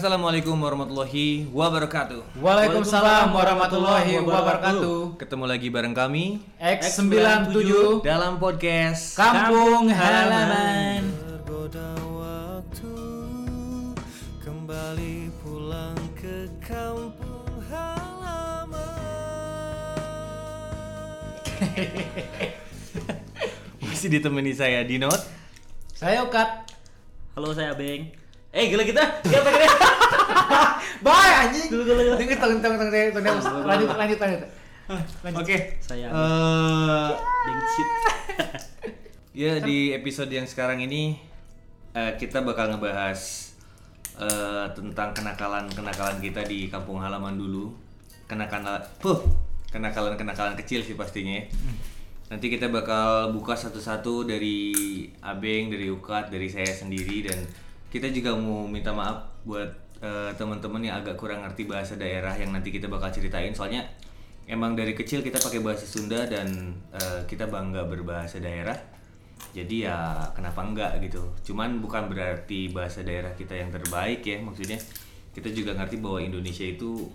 Assalamualaikum warahmatullahi wabarakatuh. Waalaikumsalam warahmatullahi wabarakatuh. Ketemu lagi bareng kami X97 dalam podcast Kampung Halaman. Tergoda waktu kembali pulang ke kampung halaman. Masih ditemani saya Dinot. Saya Ukat. Halo saya Beng. Eh gila kita, gila kita. gila. Bye anjing. Dulu, dulu, dulu. Dengar tong tong tong tong tong. Lanjut lanjut lanjut. Oke. Saya Eh, Beng shit. ya di episode yang sekarang ini eh, kita bakal ngebahas eh, tentang kenakalan-kenakalan kita di kampung halaman dulu. Kenakalan puh, kenakalan-kenakalan kecil sih pastinya. ya. Hmm. Nanti kita bakal buka satu-satu dari Abeng, dari Ukat, dari saya sendiri dan kita juga mau minta maaf buat eh, teman-teman yang agak kurang ngerti bahasa daerah yang nanti kita bakal ceritain soalnya emang dari kecil kita pakai bahasa Sunda dan eh, kita bangga berbahasa daerah. Jadi ya kenapa enggak gitu. Cuman bukan berarti bahasa daerah kita yang terbaik ya maksudnya. Kita juga ngerti bahwa Indonesia itu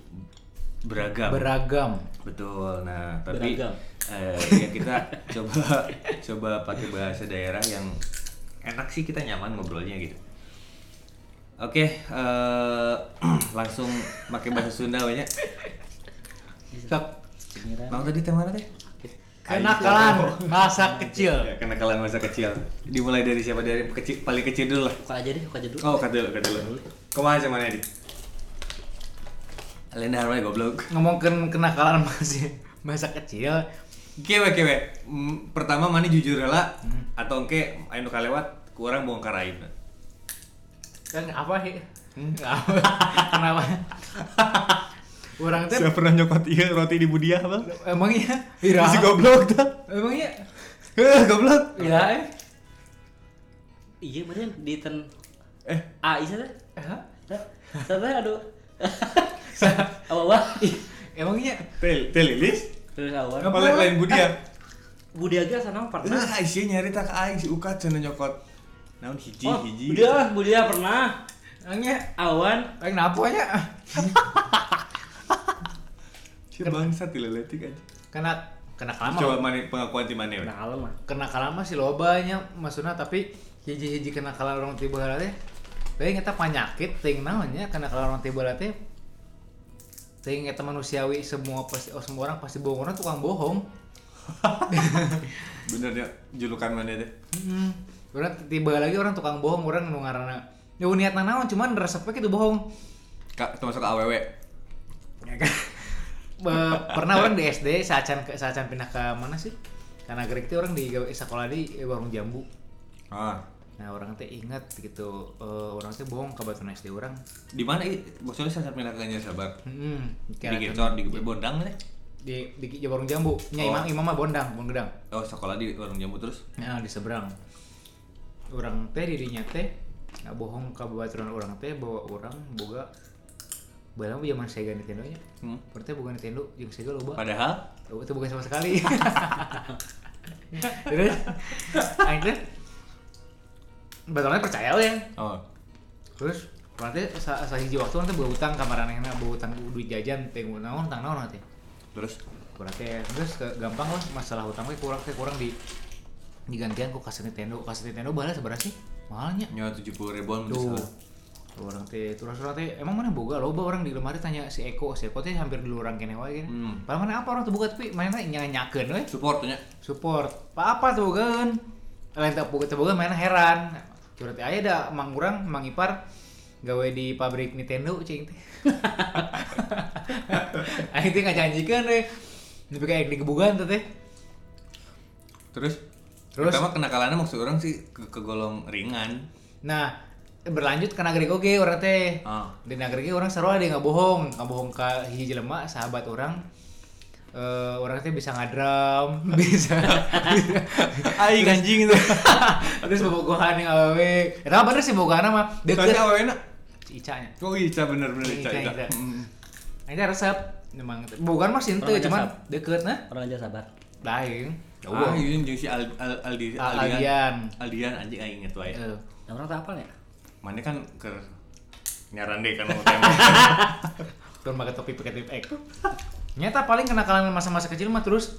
beragam. Beragam. Betul. Nah, tapi Beragam. eh, ya kita coba coba pakai bahasa daerah yang enak sih kita nyaman ngobrolnya gitu. Oke, eh, langsung pakai bahasa Sunda banyak. Sok. Bang tadi tema apa teh? Kenakalan masa kecil. Ya, kenakalan masa kecil. Dimulai dari siapa dari kecil paling kecil dulu lah. Buka aja deh, buka aja dulu. Oh, kata dulu, kata dulu. Kemana sama Nadi? Alenda Harmony goblok. Ngomongin kenakalan masih masa kecil. Kewe kewe. Mm, Pertama mana jujur lah atau engke anu kalewat kurang bongkar aib. Kan apa sih? Apa? Kenapa? Orang teh pernah nyokot iya roti di Budiah, Bang. emang iya. Ira. goblok dah. Emang iya. Eh, goblok. Ira. eh. Iya bener di ten Eh. A iya, isa teh. Hah? Sampai aduh. Apa apa? Emang iya. Tel, telilis. Terus awal. Apa lain- lain Budiah? Budi Aga sana pernah. Nah, Aisyah nyarita ke aing si Ukat cenah nyokot. Naon hiji Oh, hiji. Budi Aga, Budi Aga pernah. Emang iya. Awan. Kayak kenapa ya? Si bangsat dileletik aja. Kena kenakalan mah. Coba mana pengakuan ti mana? we? Nah, alam mah. kenakalan mah si loba nya maksudna tapi hiji-hiji kenakalan orang tiba heula teh tapi kita penyakit ting naonnya kenakalan orang tiba heula teh ting eta manusiawi semua pasti oh, semua orang pasti bohong orang tukang bohong Bener ya julukan mana teh? hmm. orang tiba lagi orang tukang bohong orang nu ngaranna ya niatna naon cuman resepnya gitu bohong Ya kan? Kak, termasuk AWW. Be- pernah orang di SD saacan ke saacan pindah ke mana sih karena gerik teh orang di sekolah di warung jambu Ah, nah orang teh inget gitu eh, orang teh bohong ke batu SD orang di mana i? Maksudnya saya sampai nanya sabar. Hmm, Di Gecor, di Bondang teh. di di, di warung jambu. Nya Oh. imam imam mah bondang, bondang gedang. Oh, sekolah di warung jamu terus. Nah, di seberang. Orang teh dirinya teh nggak bohong kabaturan orang teh bawa orang boga Balang zaman saya ganti tendonya. Hmm. Berarti bukan Nintendo, yang Sega loba. Padahal Loba itu bukan sama sekali. Terus akhirnya Batalnya percaya we. Oh, Terus berarti sa sahiji waktu nanti boga utang kamaranehna, boga utang duit jajan, teh naon utang naon nanti. terus berarti terus ke- gampang lah masalah utang we kurang kayak kurang di digantian ku kasih Nintendo kasih Nintendo balas seberapa sih mahalnya nyawa tujuh puluh ribuan tuh misalnya. Tuh, orang teh terus orang teh emang mana boga loba orang di lemari tanya si Eko si Eko teh hampir di lurang kene wae gini Hmm. padahal mana apa orang tuh boga tapi mana nyanyakeun we Supportnya. support pa apa tuh bogaeun lain tak boga teu boga mana heran curhat aya da mang urang mang ipar gawe di pabrik Nintendo cing teh aing teh ngajanjikeun we tapi kayak digebugan tuh teh Terus Terus? pertama kenakalannya maksud orang sih ke kegolong ringan. nah berlanjut ke nagrik oke orang teh Ah. di nagrik ge orang seru ada nggak bohong nggak bohong ke hiji jelema sahabat orang Eh, orang teh bisa ngadram bisa Aing anjing itu. terus bobogohan yang awewe eta mah bener sih bobogohan mah Tapi deket awalnya enak. Si Ica nya Oh Ica bener-bener Ica. Ica, Ica. Ica. Mm. Akhirnya resep memang bukan mah sinte Orang cuman nyasar. deket nah Orang aja sabar. lain Ah, ini jeung si Al- Al- Aldi Aldian. Iya. Ah, Aldian Ya. Aldian anjing aing inget wae. Eh, Nah, orang tak apa ya? Mana kan ke nyaran deh kan mau tema. Turun pakai topi pakai tip ek. Nyata paling kenakalan masa-masa kecil mah terus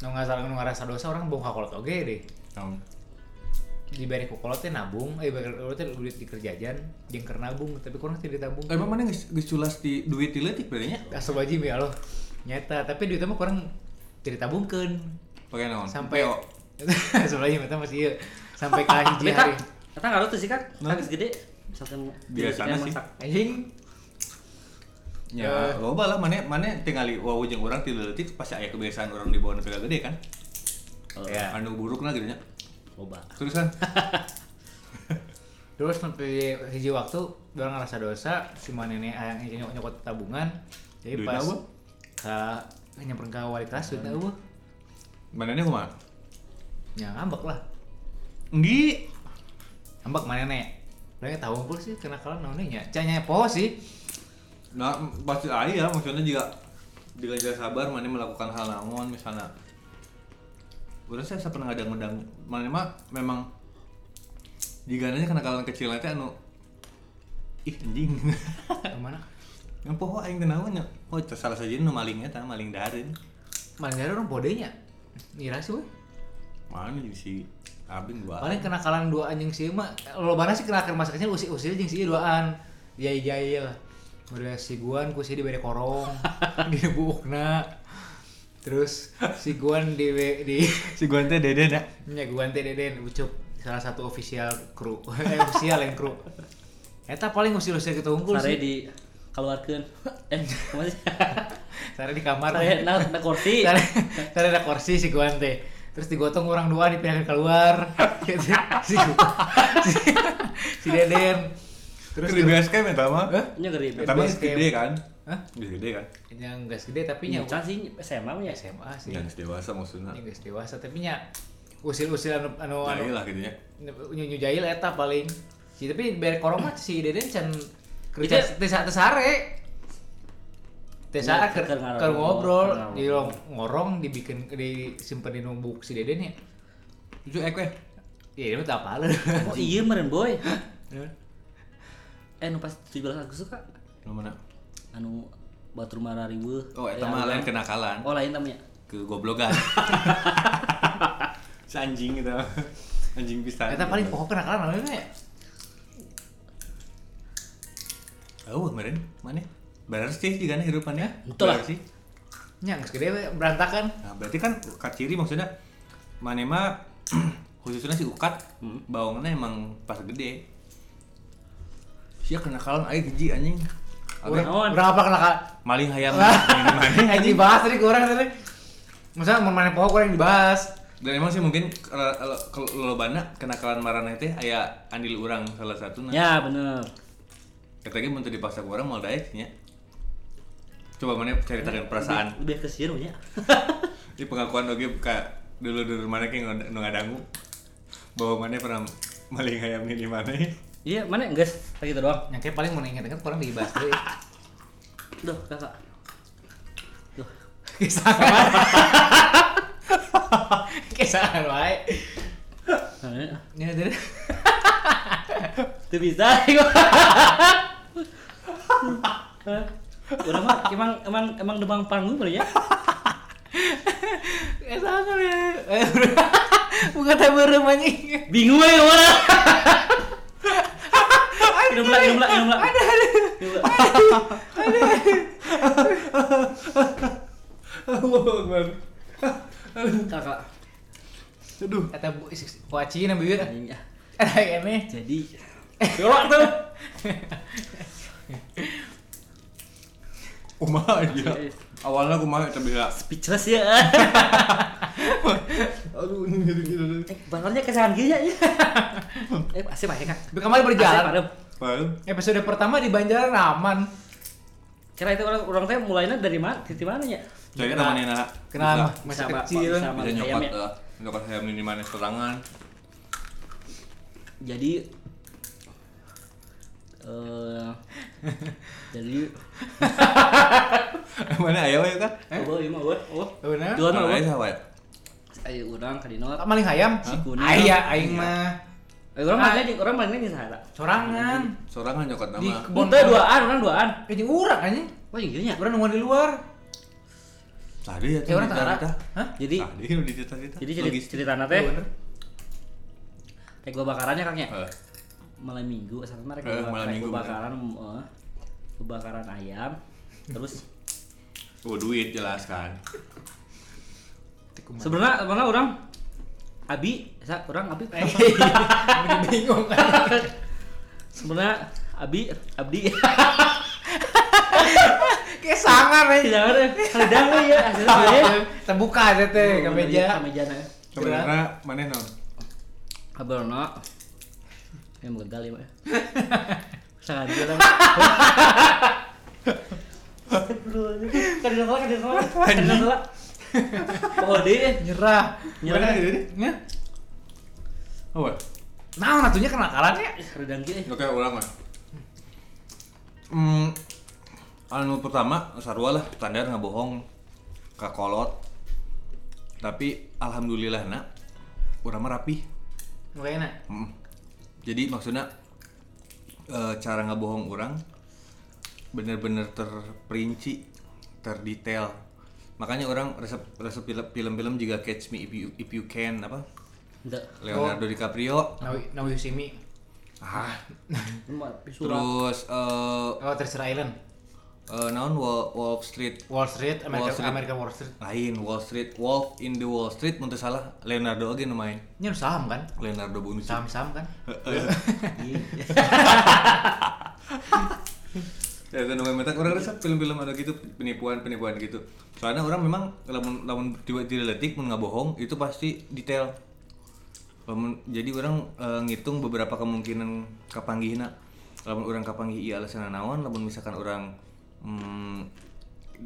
nu salah nu ngarasa dosa orang bongkar kolot oge deh. Tahu. Diberi kolot teh nabung, eh bari kolot teh duit dikerjajan, jeung keur nabung tapi kurang teh ditabung. Eh, Emang mana geus geus culas di duit di leutik berarti nya? Asup wajib ya Allah. Nyata, tapi duit mah kurang teu ditabungkeun. Pakai naon? Sampai PO. Sebenarnya mata masih iya. sampai ka hiji Eta, hari. eta ngaruh tuh sih kan, kan geus gede. Misalkan Biasana sih. Anjing, eh, Ya, loba lah mana mana tingali wau jeung urang ti leutik pasti aya kebiasaan orang di bawah negara gede kan. Ya. Anu buruk lah gitu nya. Coba. Terus kan? Terus sampai hiji waktu orang ngerasa dosa, si nenek ayang nyokot nyokot tabungan. Jadi Duit pas apa? ka nyamperin ke wali kelas duit eueuh. Hmm. Manehna kumaha? Ya ngambek lah. Enggi. Ngambek mana nenek. Orang tahu pun sih kena kalah naonnya nya. Canya poho sih. Nah, pasti aya maksudnya juga jika jika sabar mana melakukan hal naon misalnya Urang saya pernah ngadang ngedang mana mah memang digananya kenakalan kecil nanti anu ih anjing Kemana? yang poho aing teu naon nya oh itu salah saja nu malingnya tah maling dahareun Mana ada orang podenya. Nira sih weh. mana jeung si abing dua Paling kena kalah dua anjing sih mah. Lo sih kena kalah masaknya usil usil jeung si Iya duaan. Jai jai lah. Udah si Guan ku sih dibere korong, dibukna. Terus si Guan di di si guan teh dede da Ya gue ganti Deden, Ucup salah satu official kru, eh official yang kru. Eta paling usil-usil kita unggul Sare sih. di keluarkan. Eh, kemana sih? Sare di kamar. Sare na na kursi. Sare, sare ada kursi si Guan teh. Terus digotong orang dua dipindahin keluar. Gitu. si, si, si Deden. terus di Terus base camp eta mah Hah? Nya gede. eta mah Base camp. gede kan Hah? geus gede kan yang gak gede tapi nya Nyocan sih SMA mah ya. SMA sih. yang dewasa maksudnya Yang gak dewasa tapi nya usil-usil anu ya anu anu iyalah gitu nya nyu jahil eta paling si tapi bare korong mah si deden can kerja Itu- teu sa- teu sare teu sare keur Keur- keur keur ngarobrol, ngobrol keur ngarobrol. di long- ngorong dibikin disimpen di numbuk si deden ya itu ek weh ya ini mah apa Oh iya meren boy. Iya. Eh nu pas 17 Agustus kak Nu mana anu batu rumah ribu. oh eta mah lain kenakalan Oh lain namanya. ke goblogan si anjing gitu anjing pisan eta paling pokok kena kalah namanya ya oh kemarin mana benar sih juga nih hirupannya Betul lah. Bener sih nya geus gede we, berantakan nah berarti kan kak ciri maksudnya mana mah khususnya si ukat bawangnya emang pas gede sih kenakalan air geji anjing Abis Naon? urang apa kena kalah maling hayam Aing dibahas tadi ke urang tadi Masa mau mana pokok kurang dibahas dan emang sih mungkin eh, kalau kalau bana kenakalan marana teh aya andil urang salah satu Ya bener. Katanya mau di pasar orang mau daek nya. Coba mana ceritakan perasaan Lebih ke siru nya. di pengakuan oge ka dulu dulu mana ke nu ngadangu bahwa mana pernah maling ayam ini di mana ya? Iya mana guys kayak gitu doang. yang kayak paling mau inget-inget kurang dibahas deh Duh kakak. Duh. Kisah wae. Kisah wae. Nah, Ya jadi Itu bisa. Udah mah emang emang emang demang panggung kali ya. kisah wae. Eh, Bukan tak berem anjing. Bingung ya kemana? Minum lah, minum lah, minum lah. Minum lah. Kakak. Aduh. Kata bu is- kuaci nang bibir. anjing, ah. Ada kene. Jadi. Yolak tuh. Kumaha aja. Awalnya kumaha eta bisa. Speechless ya. Aduh ini gitu gitu. Eh, Bangunnya kesan gini ya. Eh, asih pakai kak. Tapi kemarin Asih, berjalan. padam. Padahal Episode pertama di Banjaran aman. Kira itu orang orang teh mulainya dari mana? Titik mana ya? saya teman Nina. Kenal mah Bisa- masih Bisa, Pak. kecil. Bisa. Bisa Maling nyokot ayam ya? lah. Nyokot ayam ini mana serangan. jadi eh jadi Mana ayam ya kan? oh iya mah oh oh Benar. dua mah Mana oh sawah. ayo urang ka dina Maling hayam. Si kuning. Aya aing Iya, mah. Eh, orang mana jeung orang mana jeung saha? sorangan Sorangan nyokot di nama. kebon Bunteu duaan, orang duaan. Eh, jeung urang anjing Wah, iya, jeung dieu nya. urang nungguan di luar Tadi ya eh orang tara cerita-cerita. hah Jadi Tadi udah cerita-cerita. jadi cerita Logis. ceritana Iya, teh bener. teh gua bakarannya Kang ya. Eh, malam minggu asal mereka Eh, eh, malam minggu, kebakaran eh, kebakaran ayam terus Oh duit jelas kan. sebenarnya sebenarnya orang Abi sa orang Abi Jadi bingung kan sebenarnya Abi Abdi kayak sangar eh. anjing jangan eh sedang we ya hasilnya we ya Oh, iya, terbuka aja teh ke meja kameja na Sebenarnya mana non? kabarna yang mengendal ya Pak. sangat dia lah Kadang salah, kadang salah, kadang salah. Oh, deh. nyerah Nyerah. Bener, ini nya Oh, what? nah natunya kenakalan ya Redang kieu, eh. oke ulang lah. Hmm, anu pertama sarua lah standar nggak bohong kakolot tapi alhamdulillah nak urang mah rapih nggak enak Mm. Jadi maksudnya eh, cara nggak bohong orang bener-bener terperinci, terdetail. Makanya orang resep resep film- film-film juga Catch Me If You If You Can apa Enggak. Leonardo DiCaprio. nawi nawi simi Ah, Cuma pisu lah. terus eh oh Treasure Island eh, naon Wall, Wall Street Wall Street Amerika Wall Street. Amerika Wall Street lain Wall Street Wolf in the Wall Street muntah salah Leonardo lagi nu main ini harus saham kan Leonardo Bonucci saham saham kan Ya, dan orang mentak orang resep film-film ada gitu penipuan-penipuan gitu. Soalnya orang memang lamun lamun diwa- diletik mun ngabohong itu pasti detail. Lamun jadi orang eh, ngitung beberapa kemungkinan kapanggihna. Lamun orang kapanggih ieu alasan naon, lamun misalkan orang mm,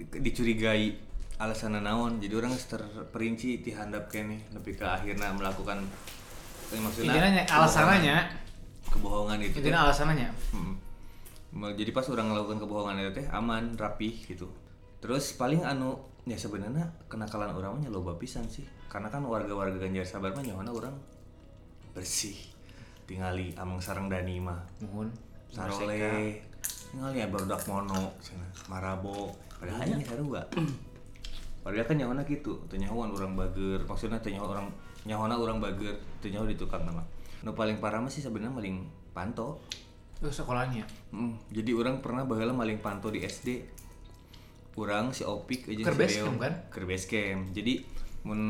di- dicurigai alasan naon, jadi orang geus terperinci dihandap kene nepi ke akhirnya melakukan eh, maksudnya intinya alasannya kebohongan itu. intinya alasannya Mm. Mal- Jadi pas orang ngelakukan kebohongan itu teh aman, rapih gitu. Terus paling anu ya sebenarnya kenakalan orang mah loba pisan sih. Karena kan warga-warga Ganjar Sabar mah nyawana orang bersih. Tingali amang sareng Dani mah. mohon Sarole. Tingali ya barudak mono cenah. Marabok. Padahal ini sarua. Padahal kan nyawana gitu, teu nyahoan urang bager. Maksudna teu nyahoan urang nyahoana urang bager, teu nyaho di tukang nama. Nu paling parah mah sih sebenarnya paling panto. itu Eh, sekolahnya Mm, jadi orang pernah baheula maling panto di SD. Urang si Opik aja Keur base camp kan? Keur base camp. Jadi mun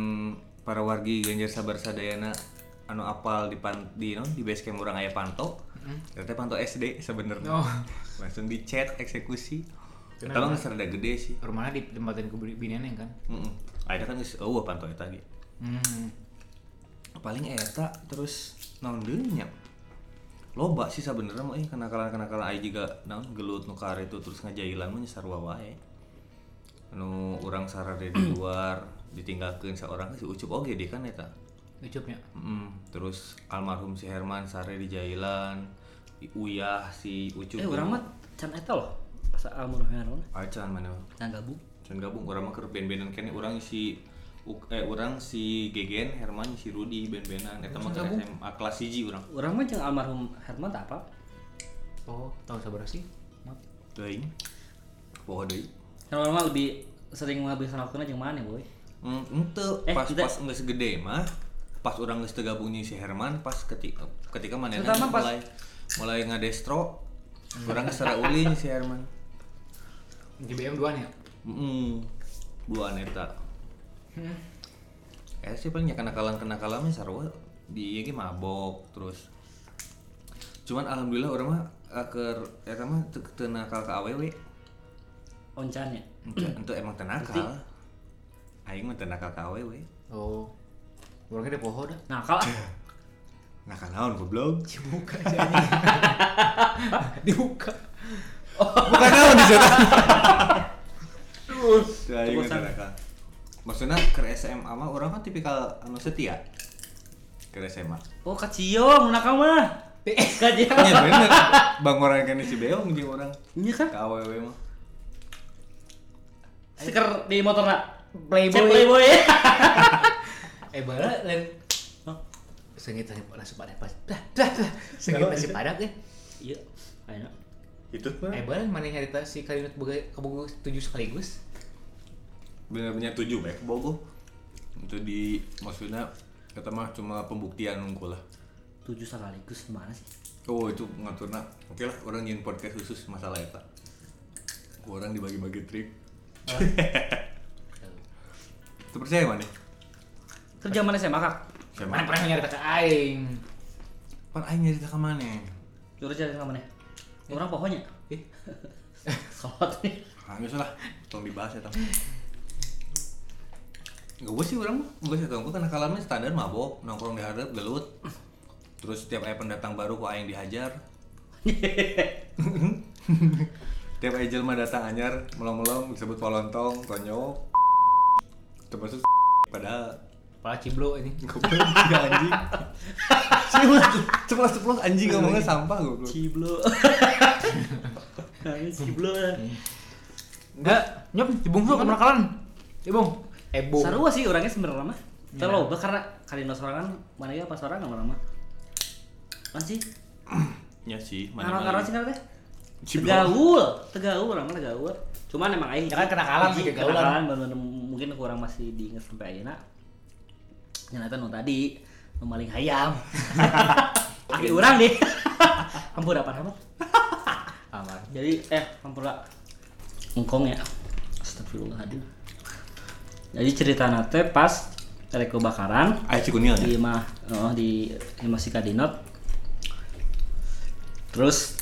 para wargi Ganjar Sabar Sadayana anu apal di pan di non di base camp urang aya panto. Ternyata panto SD sebenarnya. Hmm. Oh. Langsung dicet eksekusi. Eta mah geus rada gede sih. rumahnya di tempatin ke bini Neneng kan Heeh. Akhirnya kan geus eueuh panto eta ge. hmm. paling eta terus naon deui nya loba sih sabenerna mah eh kenakalan-kenakalan ai juga naon gelut nu itu terus ngajailan mah nya sarua wae nu urang sarade di Mm. luar ditinggalkeun seorang si ucup oge deh kan eta ucupnya Mm, terus almarhum si Herman sare di jailan I- uyah si ucup Eh, orang mah can eta loh. Asa almarhum Heron. acan mana Nah, gabung. Can gabung urang mah keur ben-benan kene urang si eh urang si Gegen Herman si Rudi ben-benan eta mah keur SMA kelas 1 urang Orang mah jeung almarhum Herman tak apa? oh tahun sabar sih Mat. Deing. Bawa deui. Kan orang mah lebih sering menghabiskan waktunya jeung mana, boy? Hmm, ente Eh, pas kita- pas nggak segede mah pas orang nggak gabung jeung si Herman pas ketika ketika mana Terutama pas- mulai mulai ngadestro orang geus ulin ulin si Herman di BM dua nih ya? mm dua aneta Hmm. eh sih paling kenakalan kenakalan mah sarwa di ieu ge mabok terus cuman alhamdulillah orang mah aker eta mah teu teu nakal ka awewe Oncan ya. itu emang tenakal aing mah tenakal ka awewe oh orangnya di pohon dah Nah, kalau nakal naon goblok dibuka aja dibuka Bukan naon di sana. Coba sana. Maksudnya ke SMA mah orang kan tipikal anu setia. Ke SMA. oh kaciong nak mah. Eh, Kaciong. Iya bener. Bang orang kan si beong jeung orang. Iya kan? Ke AWW mah. Stiker di motor nak. Playboy. Cek Playboy. Oh, eh bala lain sengit nasi nasi padang pas dah dah dah sengit Kenapa? nasi padang eh iya enak Itu eh barang mana nyarita si kalimat boga kebogo tujuh sekaligus benar-benar tujuh baik bogo itu di maksudnya kata mah cuma pembuktian unggul lah tujuh sekaligus mana sih oh itu ngaturna oke lah orang nyin podcast khusus masalah eta orang dibagi-bagi trik itu percaya mana kerja mana saya makak saya mana mah pernah nyarita ke aing pan aing nyarita ka mana jurus jalan ke mana orang pokoknya eh salat nih hangis Nah, lah tolong dibahas ya tang Gak gue sih orang gue sih tau gue karena kalamnya standar mabok nongkrong di harap gelut terus setiap ayah pendatang baru kok aing dihajar Tiap Angel mah datang anyar, melong-melong disebut polontong, konyol. Termasuk padahal pala ciblo ini goblok juga anjing. Ceplos ceplos ceplos anjing ngomongnya sampah goblok. ciblo nangis ciblo enggak nyop dibungsu ke kalan ibung ebung sarua sih orangnya sebenarnya mah terlalu karena kalian sorangan mana ya pas orang orang mah kan sih Ya sih, karena karena sih karena teh Ciblo. tegaul tegaul orang mah tegaul cuman emang aing Ya kan kenakalan sih, hiji kegaulan. kenakalan baru mungkin kurang masih diingat sampai ayeuna nyata nu tadi nu maling hayam aki urang deh hampura apa apa amar jadi eh hampura engkong ya astagfirullahaladzim jadi cerita nate pas reko bakaran Ayo cikunil ya. di mah oh, di emang si kadinot terus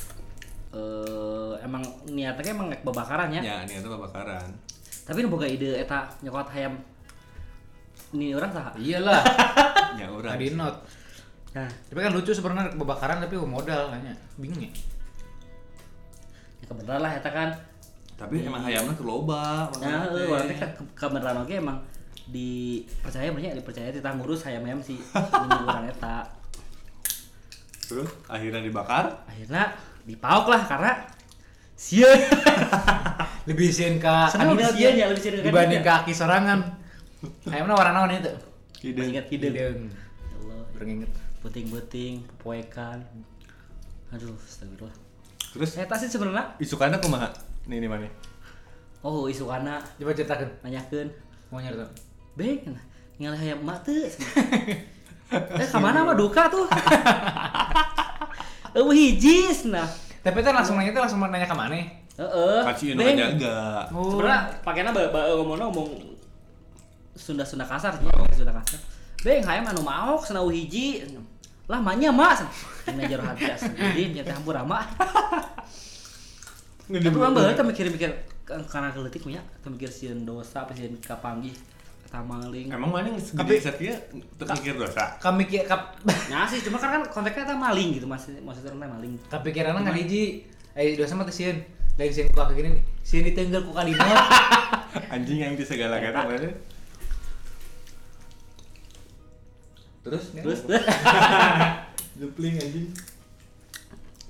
eh, emang niatnya kan emang ngek babakaran ya Ya, ini itu bakaran. tapi nu boga ide eta nyokot hayam ini orang saha iyalah Ya orang. tadi not nah tapi kan lucu sebenarnya kebakaran tapi oh, modal kayaknya bingung ya ya kebenaran lah eta kan Tapi emang hayamnya tuh loba. nah makanya eh, teh. orang teh ke, kebenaran oke emang dipercaya banyak dipercaya kita ngurus hayam hayam si ini orang eta Terus akhirnya dibakar. akhirnya dipauk lah karena sieun lebih sieun ka Sebenarnya Adinot lebih sieun Iya. ya, lebih sieun ka dibanding Adinot. ka aki sorangan ayamna warna naon itu Ide. ingat ide ya Hideung. Allah Urang inget. puting-puting, poekan. Aduh, astagfirullah. Terus Saya sih sebenarnya. isukannya kumaha? Nih ini mana? Oh, isukana coba ceritakan nanyakeun, mau nyerita "Beng, ningali hayam emak teu?" Eh, ka mana mah duka tuh. Eueuh hiji nah. tapi teh langsung nanya teh langsung nanya ke mana Heeh. Oh. Kasih Beng, nanya enggak. Sebenarnya pakainya ba ba ngomongna ngomong Sunda-Sunda kasar sih, Sunda kasar. Beng, hayam anu maok cenah eueuh hiji. Lah manya mak. Ini jero hati asli, nya teh hampura mak. Tapi orang baheula teh mikir-mikir ke- karena keletik punya, teh mikir sieun dosa apa sieun kapanggih eta maling. Emang mana yang segede Tapi- setia terpikir dosa? kami ki kap Nah sih, cuma kan kan konteksnya eta maling gitu maksud maksudnya orang teh maling. kepikiran nggak hiji eh dosa mah teh sieun lain sieun ku aki gini sieun ditenggel ku kalimot Anjing yang di segala kata mana? Terus? Terus Jepling anjing.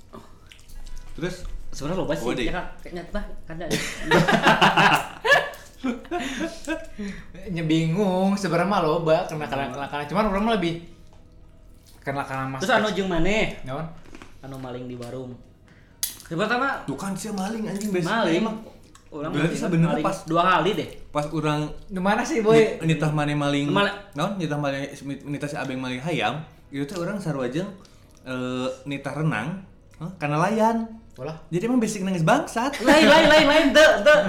Oh. Terus? sebenarnya loba sih, Oh, deh. ya kan kayaknya tah kan ya. Nya bingung sebenarnya mah loba kena kalah kalah cuman orang mah lebih kena kalah mas Terus anu jeung maneh, naon anu maling di warung. Yang pertama Tuh kan sih maling anjing biasanya maling emang. orang Berarti maling, sebenarnya maling pas- dua kali deh. Pas orang nu mana sih boy nitah mana maling, Maling. non nitah mana nitah si abeng maling hayam, itu tuh orang sarwajeng eh nitah renang, huh, karena layan. Ulah. Jadi emang basic nangis bangsat. Lain lain lain lain teu teu.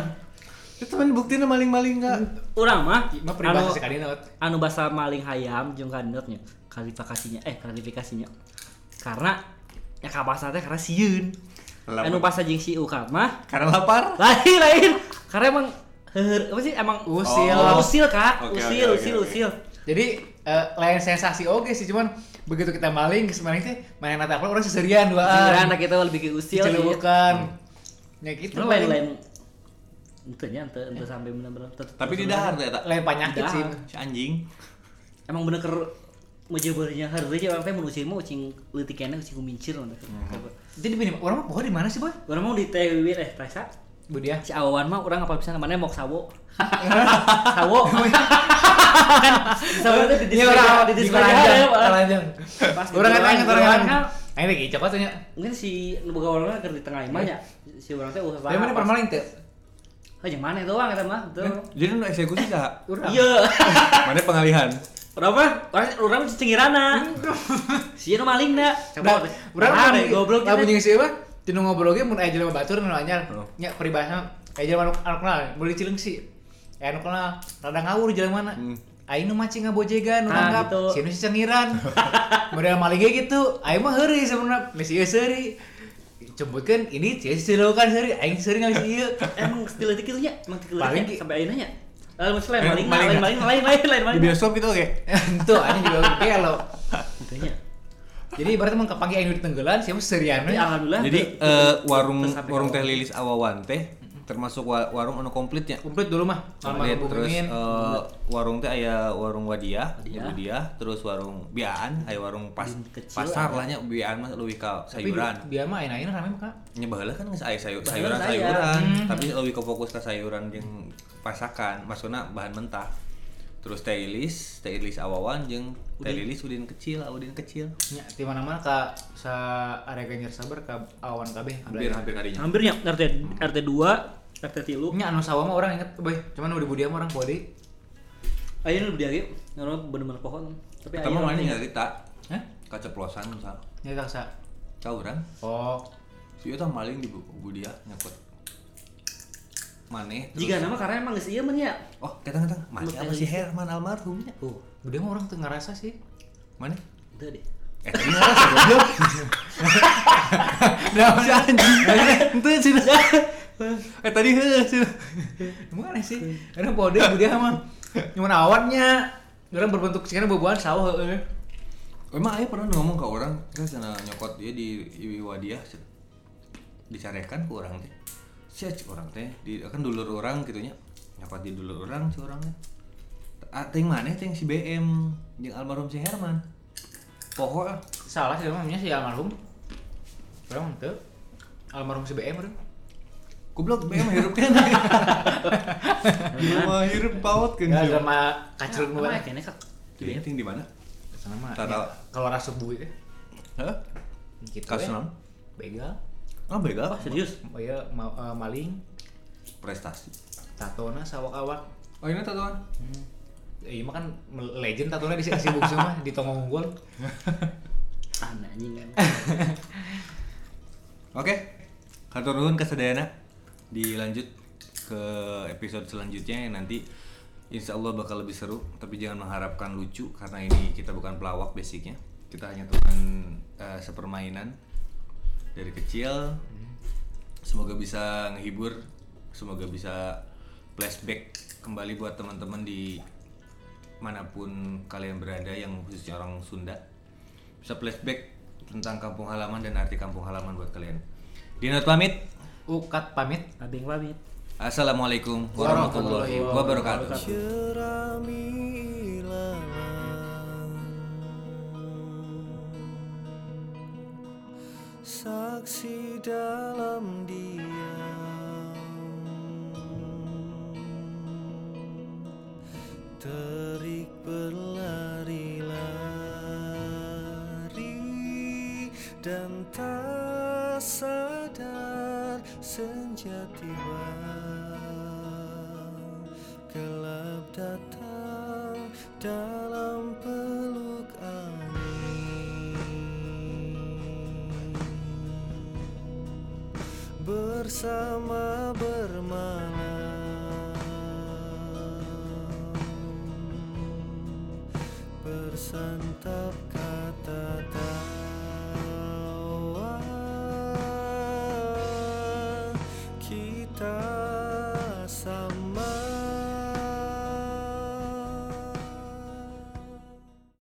Itu teman buktinya maling-maling enggak. Urang mah mah anu peribahasa sekali naon anu bahasa maling hayam jeung kandidatnya klarifikasinya eh klarifikasinya karena ya kabasa teh karena sieun Lamun. anu bahasa jeung si ukat mah Karena lapar. lain lain karena emang heuheur apa sih emang Usil. Oh, usil kak Oke, usil oke, oke, usil oke. usil Jadi eh, lain sensasi oke sih cuman begitu kita maling kes maling teh main nata apa orang seserian dua Sebenarnya anak iya. kita lebih ke usil sih bukan ya gitu lain maling lain entenya ente ente sampai benar-benar tet- Tapi tet- di dahar tuh eta. lain penyakit Tidak. sih Si anjing. emang bener ker mejebarnya harusnya orang teh mun ucing mah ucing Hmm. leutik keneh ucing kumincir mah. jadi bini orang mah pohon di mana sih boy Orang mau di TW eh Presa Budiah. si awawan mah orang apal pisan mana mau sawo sawo Iya. Kan, sawo itu di Ini iya, ya, orang di Kalanjang. Kalanjang. Pas di Orang kan Kalanjang, tanya orang orang kan. kan. Aing lagi cokot tanya. mungkin si boga orang ker di tengah Iya. imah nya si orang teh ulah Tapi mana permaling teh? heh jeung Oh, mana itu orang eta mah tuh Eh, Jadi nu eksekusi saha? Urang. iya Mana pengalihan? orang mah orang orang mah cengirana si nu maling da Urang- Urang Tahan, mana goblok. goblog Lamun kita. jeung si Ewa, tinu ngobrol ge mun aya jelema batur nu anyar. Oh. Nya peribahasa aya jelema anu anu kenal, beli cilengsi. Aya anu kenal, rada ngawur jelema na. Hmm. Aing nu mancing ngabojegan, nu Ah, nanggap, gitu. si nu si cengiran. Model maling ge gitu, aing mah heuri sebenarnya, geus ieu seuri. Cembutkeun ini sia si kan seuri, aing seuri ngalih ieu. emang still itu gitu nya emang still Paling itu ki- sampai ayeuna nya lalu selain Eh, maling maling, lain ya? maling lain lain lain Di maling bioskop gitu oke. Itu anjing juga oke lo. Gitu nya. Jadi ibaratnya mah kapangi aing nu ditenggelan, siapa seriana. tapi alhamdulillah Jadi tuh- eh, warung terus sampai warung ke- teh lilis awawan teh termasuk wa- warung anu komplitnya. Komplit dulu mah. Sama Komplit terus hubungin. eh, warung teh aya warung wadiah, Wadiah. ibu dia, terus warung biaan, aya warung pas Bin kecil, pasar ada. lah nya biaan mah leuwih ka Tapi sayuran. dia mah aina-aina rame mah, Kak. Nya baheula kan geus aya sayu- sayuran Baheula saya. sayuran, Hmm. tapi leuwih ke fokus ka sayuran jeung pasakan, maksudna bahan mentah. Terus teh lilis, teh lilis awawan jeung teh Udin. lilis udin kecil, ah, udin kecil. Ya, di mana-mana ka sa area Ganjar Sabar ka awan kabeh. Hampir hampir kadinya. hampirnya RT RT 2 RT tilu Nya anu sawa mah orang inget, boy. Cuman udah budiam orang poli. ayeuna lebih dia orang bener-bener pohon tapi Kita mah ayeuna mana ya? teh- nyarita Hah? kaceplosan misalnya. Ya kaksa. Tawuran. Oh. Si eta maling di buku dia nyekot. Maneh terus- Jika nama karena emang geus ieu mah nya. Oh, ketang ketang. Maneh Lu apa si telis. Herman almarhumnya? Uh, Budiam mah orang tuh ngerasa sih. Maneh? teu deh. Eh, ini orang goblok. Nah, si anjing. Itu sih. Eh tadi heuh sih. Emang aneh sih. Karena poli budiam mah cuman awannya. Orang berbentuk sekarang bubuhan sawah heeh. Emang ayah pernah ngomong ke orang, kan sana nyokot dia di Iwi Wadiah cenah. dicarekan ke orang teh. Sia cik orang teh, di, kan dulur orang gitunya. Nyokot di dulur orang si orangnya. Ting mana ting si BM jeung almarhum si Herman. Poho ah. Salah sih emangnya si almarhum. Orang teu. Almarhum si BM orang. Goblok BM hirup kan. Mah hirup paut kan. Ya sama kacrut Nama mah. ya kene kak. Jadi ting di mana? Sana mah. Tara. ya, Kalau rasup buih teh. Hah? Gitu. Kasus we. naon? Begal. Ah begal. Wah, serius. Oh iya, ma- eh, maling, Prestasi. tatona sawak-awak. Oh ini tatoan. Ya, iya mah kan me- legend tatona di sini sibuk semua di tongkong unggul. Aneh anjing. kan. Oke. Kantor nuhun kesedayana. Dilanjut ke episode selanjutnya yang nanti Insya Allah bakal lebih seru, tapi jangan mengharapkan lucu karena ini kita bukan pelawak basicnya. Kita hanya tuan eh, sepermainan dari kecil. Semoga bisa ngehibur, semoga bisa flashback kembali buat teman-teman di manapun kalian berada yang khususnya orang Sunda bisa flashback tentang kampung halaman dan arti kampung halaman buat kalian. Dinot pamit. Ukat pamit. Abeng pamit. Assalamualaikum warahmatullahi wabarakatuh. Jerami ilalang Saksi dalam diam Terik berlari-lari dan tak sadar senja tiba gelap datang dalam peluk angin bersama bermalam bersantap kata-kata